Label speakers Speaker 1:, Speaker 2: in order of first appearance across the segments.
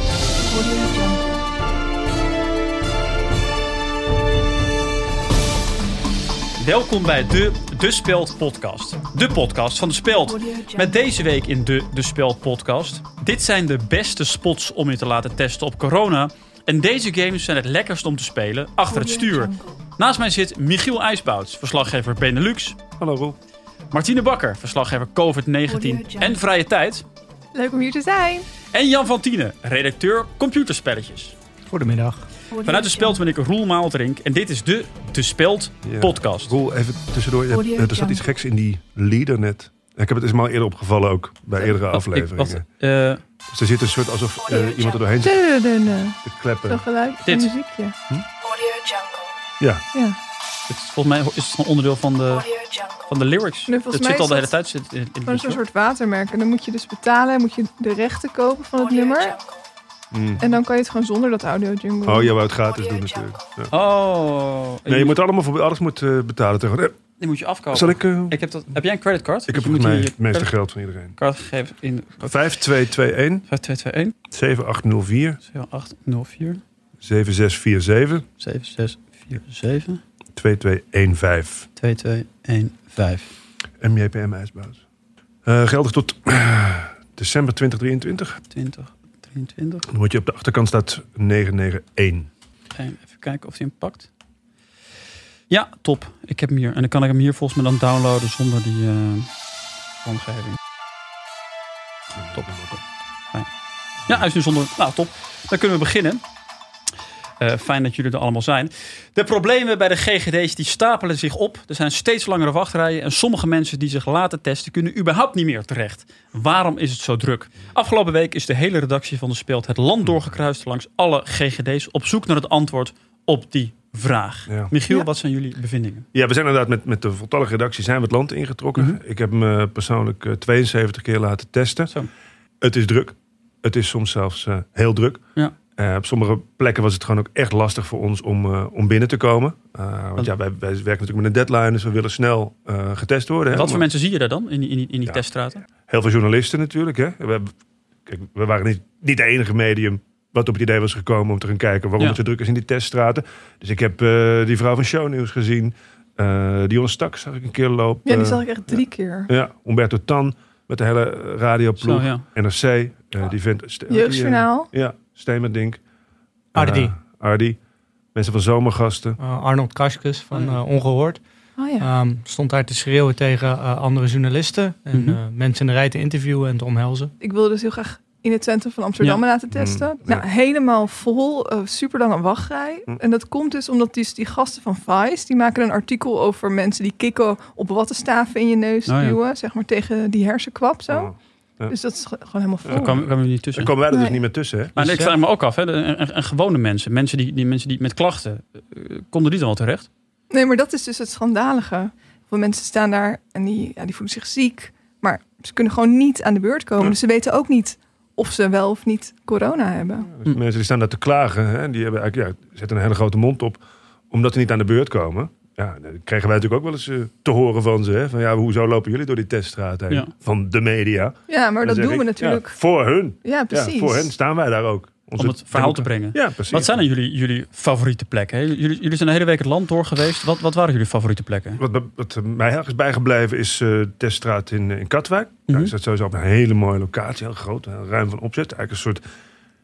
Speaker 1: Audio Jungle.
Speaker 2: Welkom bij de De Speld Podcast. De podcast van de Speld. Met deze week in de De Speld Podcast. Dit zijn de beste spots om je te laten testen op corona. En deze games zijn het lekkerst om te spelen achter het stuur. Naast mij zit Michiel IJsbouts, verslaggever Benelux.
Speaker 3: Hallo Roel.
Speaker 2: Martine Bakker, verslaggever COVID-19 en Vrije Tijd.
Speaker 4: Leuk om hier te zijn.
Speaker 2: En Jan van Tienen, redacteur Computerspelletjes.
Speaker 3: Goedemiddag.
Speaker 2: Vanuit de Speld ben ik Roel Maaltrink en dit is de De Speld
Speaker 3: Ja.
Speaker 2: Podcast.
Speaker 3: Roel, even tussendoor. Je hebt-
Speaker 1: Audio
Speaker 3: eh, er zat
Speaker 1: Jungle.
Speaker 3: iets geks in die leader net. Ik heb het is me al eerder opgevallen ook, bij eerdere
Speaker 2: Wat- ik-
Speaker 3: afleveringen.
Speaker 2: wat- eh,
Speaker 3: Dus er zit een soort alsof eh, iemand er doorheen zit
Speaker 4: Tududun.
Speaker 3: te kleppen.
Speaker 4: Zo'n geluid.
Speaker 2: Dit.
Speaker 4: Dit. muziekje.
Speaker 1: Audio Jungle.
Speaker 3: Ja,
Speaker 4: Ja.
Speaker 2: het is- volgens mij is het gewoon onderdeel van de,
Speaker 1: Audio Jungle.
Speaker 2: van de lyrics.
Speaker 4: Nee,
Speaker 2: dat
Speaker 4: volgens
Speaker 2: zit
Speaker 4: mij
Speaker 2: al
Speaker 4: is
Speaker 2: de hele
Speaker 4: dat-
Speaker 2: tijd zit in, in
Speaker 4: Maar
Speaker 2: het
Speaker 4: zo'n
Speaker 2: liedje.
Speaker 4: soort watermerk. En dan moet je dus betalen. Moet je de rechten kopen van het
Speaker 1: Audio
Speaker 4: nummer.
Speaker 1: Jungle.
Speaker 2: Mm.
Speaker 4: En dan kan je het gewoon zonder dat audio jungle.
Speaker 3: oh ja, wou het gratis doen natuurlijk. Ja.
Speaker 2: Oh, en
Speaker 3: Nee, je moet allemaal voor alles moet, eh, betalen. Tegen. eh,
Speaker 2: die moet je afkopen.
Speaker 3: zal ik... eh,
Speaker 2: Oh. Ik heb, dat, heb jij een creditcard? Dus
Speaker 3: ik
Speaker 2: Je
Speaker 3: heb
Speaker 2: moet
Speaker 3: volgens mij
Speaker 2: hier je
Speaker 3: het meeste
Speaker 2: creditcard
Speaker 3: geld van iedereen.
Speaker 2: gegeven in
Speaker 3: 5221
Speaker 2: 5221
Speaker 3: 7804
Speaker 2: 7804
Speaker 3: 7647
Speaker 2: 7647
Speaker 3: 2215
Speaker 2: 2215.
Speaker 3: MJPM IJsbouws. Eh, geldig tot eh, december 2023.
Speaker 2: 20 23.
Speaker 3: Dan word je op de achterkant staat 991.
Speaker 2: En even kijken of hij hem pakt. Ja, top. Ik heb hem hier. En dan kan ik hem hier volgens mij dan downloaden zonder die eh, omgeving. Top. Fijn. Ja, hij is nu zonder... Nou, top. Dan kunnen we beginnen. Eh, fijn dat jullie er allemaal zijn. De problemen bij de GGD's die stapelen zich op. Er zijn steeds langere wachtrijen. En sommige mensen die zich laten testen kunnen überhaupt niet meer terecht. Waarom is het zo druk? Afgelopen week is de hele redactie van de Speelt het land doorgekruist langs alle GGD's. Op zoek naar het antwoord op die vraag.
Speaker 3: Ja.
Speaker 2: Michiel,
Speaker 4: Ja.
Speaker 2: wat zijn jullie bevindingen?
Speaker 3: ja, we zijn inderdaad met, met de voltallige redactie zijn we het land ingetrokken.
Speaker 2: Mhm.
Speaker 3: Ik heb me persoonlijk eh, 72 keer laten testen.
Speaker 2: Zo.
Speaker 3: Het is druk. Het is soms zelfs eh, heel druk.
Speaker 2: Ja.
Speaker 3: Eh, op sommige plekken was het gewoon ook echt lastig voor ons om, eh, om binnen te komen. Eh, want ja, wij, wij werken natuurlijk met een deadline, dus we willen snel eh, getest worden. hè.
Speaker 2: Wat voor
Speaker 3: Maar
Speaker 2: mensen zie je daar dan in die, in die, in die
Speaker 3: Ja.
Speaker 2: teststraten?
Speaker 3: Heel veel journalisten natuurlijk. Hè? We, hebben- kijk, we waren niet, niet de enige medium wat op het idee was gekomen om te gaan kijken waarom
Speaker 2: Ja.
Speaker 3: het zo druk is in die teststraten. Dus ik heb eh, die vrouw van Shownieuws gezien. Eh Dionne Stak zag ik een keer lopen.
Speaker 4: Ja, die zag ik echt drie keer.
Speaker 3: eh, Ja, Umberto Tan met de hele eh, radioploeg.
Speaker 2: Zo, ja.
Speaker 3: NRC, eh, die vindt... Ste-
Speaker 4: Jeugdjournaal.
Speaker 3: die, eh, ja, Stemerdink.
Speaker 5: Ardi.
Speaker 3: Eh, Ardi. Mensen van Zomergasten.
Speaker 5: Eh, Arnold Kaskus van
Speaker 2: Oh, ja.
Speaker 5: eh, Ongehoord.
Speaker 4: Oh
Speaker 3: Ah.
Speaker 4: ja.
Speaker 5: Ehm, stond daar te schreeuwen tegen eh, andere journalisten. En
Speaker 2: Mhm.
Speaker 5: eh, mensen in de rij te interviewen en te omhelzen.
Speaker 4: Ik wilde dus heel graag in het centrum van Amsterdam
Speaker 2: Ja.
Speaker 4: me laten testen.
Speaker 3: Mm, ja.
Speaker 4: Nou, helemaal vol, eh, super lange wachtrij.
Speaker 3: Mm.
Speaker 4: En dat komt dus omdat die, die gasten van Vice, die maken een artikel over mensen die kikken op wattenstaven in je neus
Speaker 2: Oh ja.
Speaker 4: duwen, zeg maar tegen die hersenkwap zo.
Speaker 3: Oh.
Speaker 4: Dus dat is ge- gewoon helemaal vol.
Speaker 2: Daar kwamen kwamen we niet
Speaker 3: Daar
Speaker 2: tussen.
Speaker 3: komen wij er dus
Speaker 4: Nee.
Speaker 3: niet meer tussen, hè?
Speaker 2: Maar ik
Speaker 5: Dus,
Speaker 2: vraag me ook af, hè, de- en, en- en gewone mensen, mensen die, die, mensen die met klachten, eh, konden die dan wel terecht?
Speaker 4: Nee, maar dat is dus het schandalige. Veel mensen staan daar en die, ja, die voelen zich ziek. Maar ze kunnen gewoon niet aan de beurt komen.
Speaker 3: Ja.
Speaker 4: Dus ze weten ook niet of ze wel of niet corona hebben.
Speaker 3: Dus
Speaker 2: Mm.
Speaker 3: Mensen die staan daar te klagen, hè, die hebben eigenlijk, ja, zetten een hele grote mond op, omdat ze niet aan de beurt komen. Ja, dan kregen wij natuurlijk ook wel eens eh, te horen van ze. Hè, van ja, hoezo lopen jullie door die teststraat heen?
Speaker 2: Ja.
Speaker 3: Van de media.
Speaker 4: Ja, maar
Speaker 3: Dan
Speaker 4: dat
Speaker 3: zeg
Speaker 4: doen we
Speaker 3: ik,
Speaker 4: natuurlijk.
Speaker 3: ja, voor hun.
Speaker 4: Ja,
Speaker 3: Ja,
Speaker 4: precies.
Speaker 3: voor hen staan wij daar ook. Onze
Speaker 2: Om het verhaal te
Speaker 3: democra-
Speaker 2: brengen.
Speaker 3: Ja, precies.
Speaker 2: Wat zijn dan jullie, jullie favoriete plekken? hè? Jullie, jullie zijn de hele week het land door geweest. Wat, wat waren jullie favoriete plekken?
Speaker 3: Wat, wat mij erg is bijgebleven is eh teststraat in, eh, in Katwijk. Daar
Speaker 2: Mhm.
Speaker 3: is dat sowieso op een hele mooie locatie. Heel groot, heel ruim van opzet. Eigenlijk een soort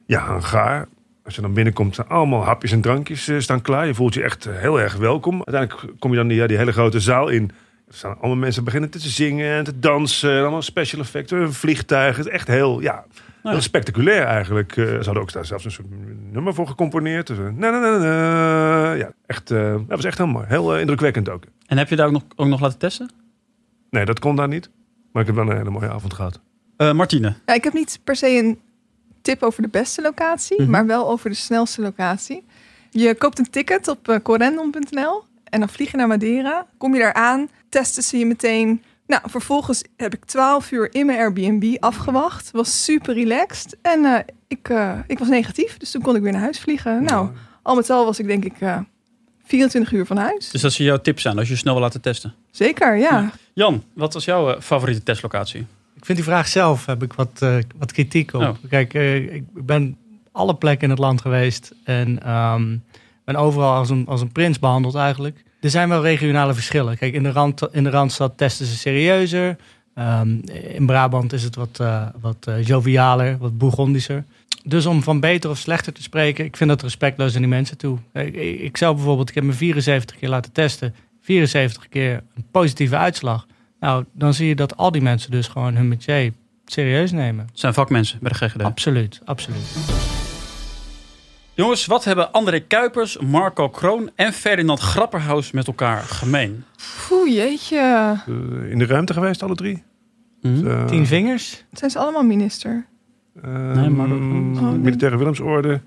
Speaker 3: ja, hangaar. Als je dan binnenkomt, zijn allemaal hapjes en drankjes eh, staan klaar. Je voelt je echt eh, heel erg welkom. Uiteindelijk kom je dan die, ja, die hele grote zaal in. Er staan allemaal mensen beginnen te zingen en te dansen. En allemaal special effecten, een vliegtuig. Het is echt heel, ja, heel
Speaker 2: ja.
Speaker 3: spectaculair eigenlijk. Eh, ze hadden ook daar zelfs een soort nummer voor gecomponeerd. Dus, eh, na, na, na, na. Ja, echt, eh, dat was echt heel mooi. Heel eh, indrukwekkend ook.
Speaker 2: En heb je daar ook nog, ook nog laten testen?
Speaker 3: Nee, dat kon daar niet. Maar ik heb wel een hele mooie avond gehad.
Speaker 2: Eh, Martine,
Speaker 4: Ja, ik heb niet per se een tip over de beste locatie,
Speaker 2: Mhm.
Speaker 4: maar wel over de snelste locatie. Je koopt een ticket op eh, corendon.nl en dan vlieg je naar Madeira. Kom je daar aan, testen ze je meteen. Nou, vervolgens heb ik 12 uur in mijn Airbnb afgewacht. Was super relaxed. En eh, ik, eh, ik was negatief, dus toen kon ik weer naar huis vliegen. Nou, al met al was ik denk ik eh, 24 uur van huis.
Speaker 2: dus dat ze jouw tips zijn als je je snel wil laten testen.
Speaker 4: Zeker, ja.
Speaker 2: Jan, wat was jouw eh, favoriete testlocatie?
Speaker 5: Ik vind die vraag zelf, heb ik wat, eh, wat kritiek op.
Speaker 2: Oh.
Speaker 5: Kijk, eh, ik ben alle plekken in het land geweest. En ehm, ben overal als een, als een prins behandeld eigenlijk. Er zijn wel regionale verschillen. Kijk, in de, rand, in de Randstad testen ze serieuzer. Ehm, in Brabant is het wat, eh, wat eh, jovialer, wat bourgondischer. Dus om van beter of slechter te spreken, ik vind dat respectloos aan die mensen toe. Ik, ik ik zelf bijvoorbeeld, ik heb me 74 keer laten testen. 74 keer een positieve uitslag. Nou, dan zie je dat al die mensen dus gewoon hun métier serieus nemen.
Speaker 2: Het zijn vakmensen bij de GGD.
Speaker 3: Ah.
Speaker 5: Absoluut, absoluut.
Speaker 2: Jongens, wat hebben André Kuipers, Marco Kroon en Ferdinand Grapperhaus met elkaar gemeen?
Speaker 4: Oeh, jeetje.
Speaker 3: Eh, in de ruimte geweest, alle drie.
Speaker 2: Hm?
Speaker 3: Eh,
Speaker 5: Tien vingers?
Speaker 4: Zijn ze allemaal minister?
Speaker 3: eh,
Speaker 2: Nee, maar-
Speaker 3: mm,
Speaker 4: Oh, nee.
Speaker 3: Militaire Willemsorde.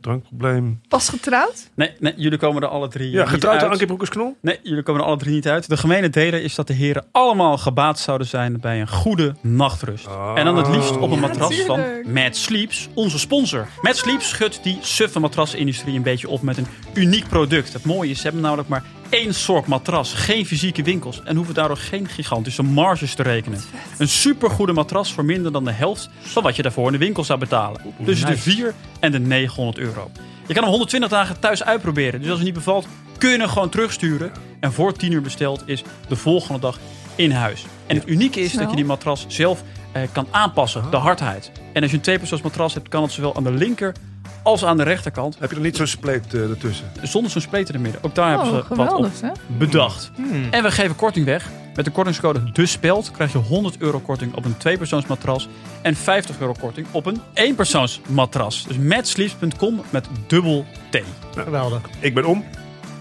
Speaker 3: Drankprobleem.
Speaker 4: Pas getrouwd?
Speaker 2: Nee, nee, jullie komen er alle drie
Speaker 3: Ja,
Speaker 2: eh, niet
Speaker 3: getrouwd aan
Speaker 2: uit.
Speaker 3: Ankie Broekers-Knol.
Speaker 2: Nee, jullie komen er alle drie niet uit. De gemene deler is dat de heren allemaal gebaat zouden zijn bij een goede nachtrust.
Speaker 3: Oh.
Speaker 2: En dan het liefst op een
Speaker 3: Ja,
Speaker 2: matras van
Speaker 4: tuurlijk.
Speaker 2: Mad Sleeps, onze sponsor. Mad Sleeps schudt die suffe matrasindustrie een beetje op met een uniek product. Het mooie is, ze hebben namelijk maar één soort matras, geen fysieke winkels en hoeven daardoor geen gigantische marges te rekenen. Een supergoede matras voor minder dan de helft van wat je daarvoor in de winkel zou betalen. Tussen de
Speaker 5: nice.
Speaker 2: 4 en de 900 euro. Je kan hem 120 dagen thuis uitproberen. Dus als het niet bevalt, kun je hem gewoon terugsturen. En voor 10 uur besteld is de volgende dag in huis. En het unieke is dat
Speaker 4: Snel.
Speaker 2: je die matras zelf eh, kan aanpassen, de hardheid. En als je een tweepersoons matras hebt, kan het zowel aan de linker als aan de rechterkant.
Speaker 3: Heb je er niet zo'n spleet eh, ertussen?
Speaker 2: Zonder zo'n spleet in het midden. Ook daar hebben
Speaker 4: Oh,
Speaker 2: ze wat op
Speaker 4: geweldig, hè?
Speaker 2: bedacht.
Speaker 5: Hmm.
Speaker 2: En we geven korting weg. Met de kortingscode DE SPELT krijg je 100 euro korting op een tweepersoonsmatras en 50 euro korting op een éénpersoonsmatras. Dus matsleeps.com met dubbel T.
Speaker 5: Geweldig.
Speaker 3: Ik ben om.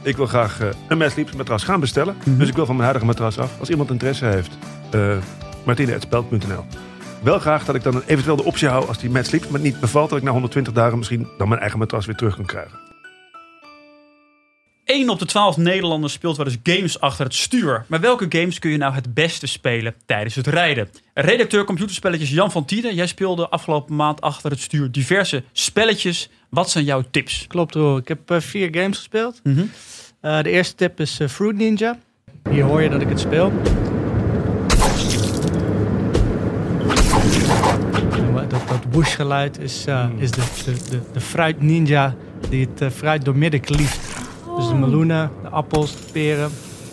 Speaker 3: Ik wil graag eh, een Madsleeps matras gaan bestellen.
Speaker 2: Mhm.
Speaker 3: Dus ik wil van mijn huidige matras af. Als iemand interesse heeft, eh martine.speld.nl. Wel graag dat ik dan eventueel de optie hou als die Madsleeps me niet bevalt... dat ik na 120 dagen misschien dan mijn eigen matras weer terug kan krijgen.
Speaker 2: 1 op de 12 Nederlanders speelt wel eens games achter het stuur. Maar welke games kun je nou het beste spelen tijdens het rijden? Redacteur computerspelletjes Jan van Tieden, jij speelde afgelopen maand achter het stuur diverse spelletjes. Wat zijn jouw tips?
Speaker 5: Klopt hoor. Ik heb eh, vier games gespeeld. Eh, de eerste tip is eh, Fruit Ninja. Hier hoor je dat ik het speel. Dat, dat whoosh geluid is, eh,
Speaker 3: Hmm.
Speaker 5: is de, de, de, de fruit ninja die het eh, fruit doormidden klieft. Dus
Speaker 3: Oh.
Speaker 5: de meloenen, de appels, de peren,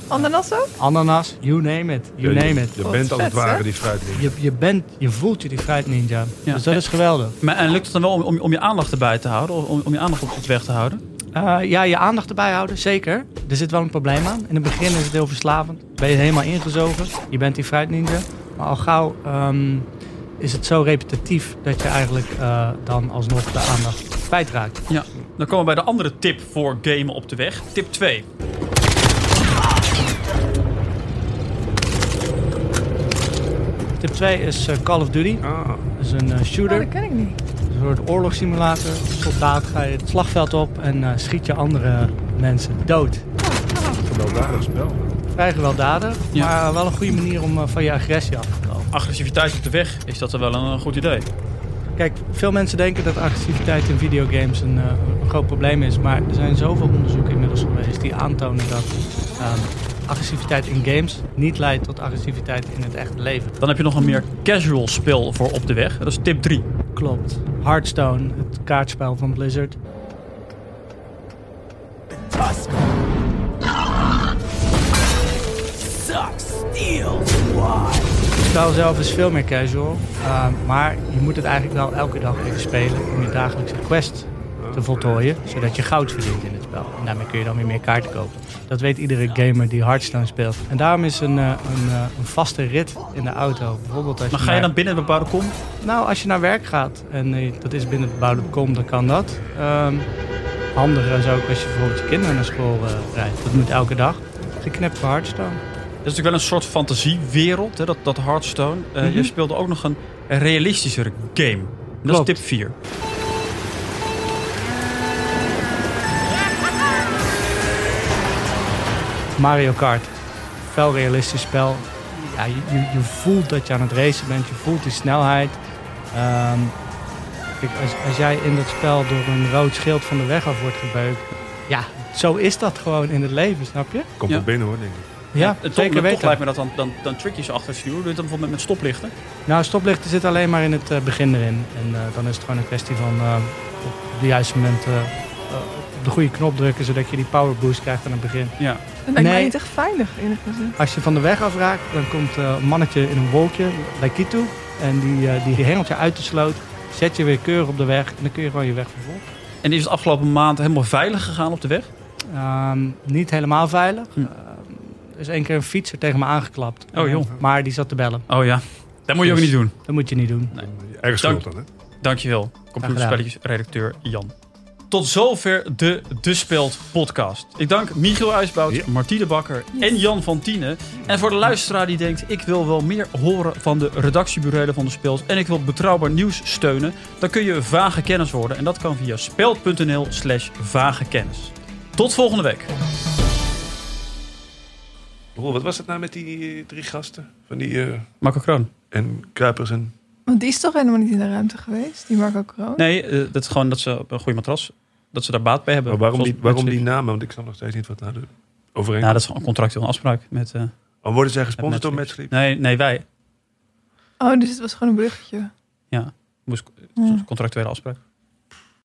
Speaker 4: Ananas ook?
Speaker 5: ananas, you name it. You
Speaker 3: Ja, je-
Speaker 5: name it.
Speaker 3: Je
Speaker 4: Wat
Speaker 3: bent als
Speaker 4: vet,
Speaker 3: het ware
Speaker 4: hè?
Speaker 3: die fruitling.
Speaker 5: Je, je, bent, je voelt je die fruit ninja.
Speaker 2: Ja.
Speaker 5: Dus dat is geweldig.
Speaker 2: Maar, en lukt het dan wel om, om, om je aandacht erbij te houden? Om, om je aandacht op het weg te houden?
Speaker 5: Eh, ja, je aandacht erbij houden, zeker. Er zit wel een probleem aan. In het begin is het heel verslavend. Ben je helemaal ingezogen. Je bent die fruit ninja. Maar al gauw ehm, is het zo repetitief dat je eigenlijk eh, dan alsnog de aandacht kwijtraakt.
Speaker 2: Ja. Dan komen we bij de andere tip voor gamen op de weg. Tip 2.
Speaker 5: Tip 2 is eh, Call of Duty.
Speaker 3: Ah,
Speaker 5: Dat is een eh,
Speaker 4: Oh,
Speaker 5: shooter.
Speaker 4: dat ken ik niet.
Speaker 5: Een soort oorlogssimulator. Als soldaat ga je het slagveld op en eh, schiet je andere mensen dood.
Speaker 3: gewelddadig spel.
Speaker 5: Vrij gewelddadig,
Speaker 2: Ja.
Speaker 5: maar wel een goede manier om eh, van je agressie af te komen.
Speaker 2: Agressiviteit op de weg, is dat dan wel een goed idee?
Speaker 5: Kijk, veel mensen denken dat agressiviteit in videogames een, eh, een groot probleem is. Maar er zijn zoveel onderzoeken inmiddels geweest die aantonen dat ehm, agressiviteit in games niet leidt tot agressiviteit in het echte leven.
Speaker 2: Dan heb je nog een meer casual spel voor op de weg. Dat is tip 3.
Speaker 5: Klopt. Hearthstone, het kaartspel van Blizzard. Het spel zelf is veel meer casual, eh, maar je moet het eigenlijk wel elke dag even spelen om je dagelijkse quest te voltooien, zodat je goud verdient in het spel. En daarmee kun je dan weer meer kaarten kopen. Dat weet iedere gamer die Hearthstone speelt. En daarom is een, eh, een, eh, een vaste rit in de auto. Bijvoorbeeld als
Speaker 2: Maar ga je
Speaker 5: naar-
Speaker 2: dan binnen een bepaalde kom?
Speaker 5: nou, als je naar werk gaat en eh, dat is binnen het bouwde kom, dan kan dat. Ehm handiger is ook als je bijvoorbeeld je kinderen naar school eh, rijdt. Dat moet elke dag. Geknipt voor Hearthstone.
Speaker 2: Dat is natuurlijk wel een soort fantasiewereld, hè, dat, dat Hearthstone. Eh, Je speelde ook nog een realistischere game. Dat
Speaker 5: Klopt.
Speaker 2: is tip 4.
Speaker 5: Mario Kart. Fel realistisch spel. Ja, je, je, je voelt dat je aan het racen bent. Je voelt die snelheid. Ehm, kijk, als, als jij in dat spel door een rood schild van de weg af wordt gebeukt. Ja, zo is dat gewoon in het leven, snap je?
Speaker 3: Komt
Speaker 2: Ja.
Speaker 3: wel binnen hoor, denk ik.
Speaker 5: Ja,
Speaker 2: het
Speaker 5: zeker
Speaker 2: toch, toch
Speaker 5: weten.
Speaker 2: lijkt me Eh, dat dan, dan, dan tricky is achter het stuur. Doe je dat bijvoorbeeld met stoplichten?
Speaker 5: Nou, stoplichten zit alleen maar in het eh, begin erin. En eh, dan is het gewoon een kwestie van eh, op de juiste moment eh, eh, op de goede knop drukken, zodat je die power boost krijgt aan het begin.
Speaker 2: Ja,
Speaker 4: Dat lijkt mij
Speaker 5: Nee.
Speaker 4: niet echt veilig, eerlijk gezegd.
Speaker 5: Als je van de weg afraakt, dan komt eh, een mannetje in een wolkje, Laikitu, en die, eh, die hengelt je uit de sloot, zet je weer keurig op de weg en dan kun je gewoon je weg vervolgen.
Speaker 2: en is het afgelopen maand helemaal veilig gegaan op de weg?
Speaker 5: Ehm, niet helemaal veilig.
Speaker 2: Hm.
Speaker 5: Ehm, er is één keer een fietser tegen me aangeklapt.
Speaker 2: Oh, joh.
Speaker 5: Maar die zat te bellen.
Speaker 2: Oh ja, dat moet je ook
Speaker 5: Dus-
Speaker 2: niet doen.
Speaker 5: Dat moet je niet doen.
Speaker 3: Ergens
Speaker 2: Dank.
Speaker 3: schuld dan, hè?
Speaker 2: Dankjewel, computerspelletjesredacteur Jan. Tot zover de De Speld podcast. Ik dank Michiel Uisbout,
Speaker 3: Ja.
Speaker 2: Martine Bakker en Jan van Tienen. En voor de luisteraar die denkt, ik wil wel meer horen van de redactiebureaus van De Speld... en ik wil betrouwbaar nieuws steunen, dan kun je Vage Kennis worden. En dat kan via speld.nl slash vage kennis. Tot volgende week.
Speaker 3: Roel, wat was het nou met die eh, drie gasten? Van die, eh,
Speaker 2: Marco Kroon.
Speaker 3: en Kuipers en...
Speaker 4: Want die is toch helemaal niet in de ruimte geweest, die Marco Kroon?
Speaker 2: Nee, eh, dat is gewoon dat ze op een goede matras, dat ze daar baat bij hebben.
Speaker 3: Maar waarom
Speaker 2: Zoals
Speaker 3: die, waarom die
Speaker 2: Netflix.
Speaker 3: namen? Want ik snap nog steeds niet wat nou de
Speaker 2: Nou,
Speaker 3: overeenkomst...
Speaker 2: dat is gewoon een contractueel afspraak met... eh,
Speaker 3: Maar worden zij gesponsord door
Speaker 2: Netflix. nee,
Speaker 3: Matchsleep?
Speaker 2: nee, wij.
Speaker 4: Oh, dus het was gewoon een bruggetje.
Speaker 2: moest
Speaker 4: Ja.
Speaker 2: contractuele afspraak.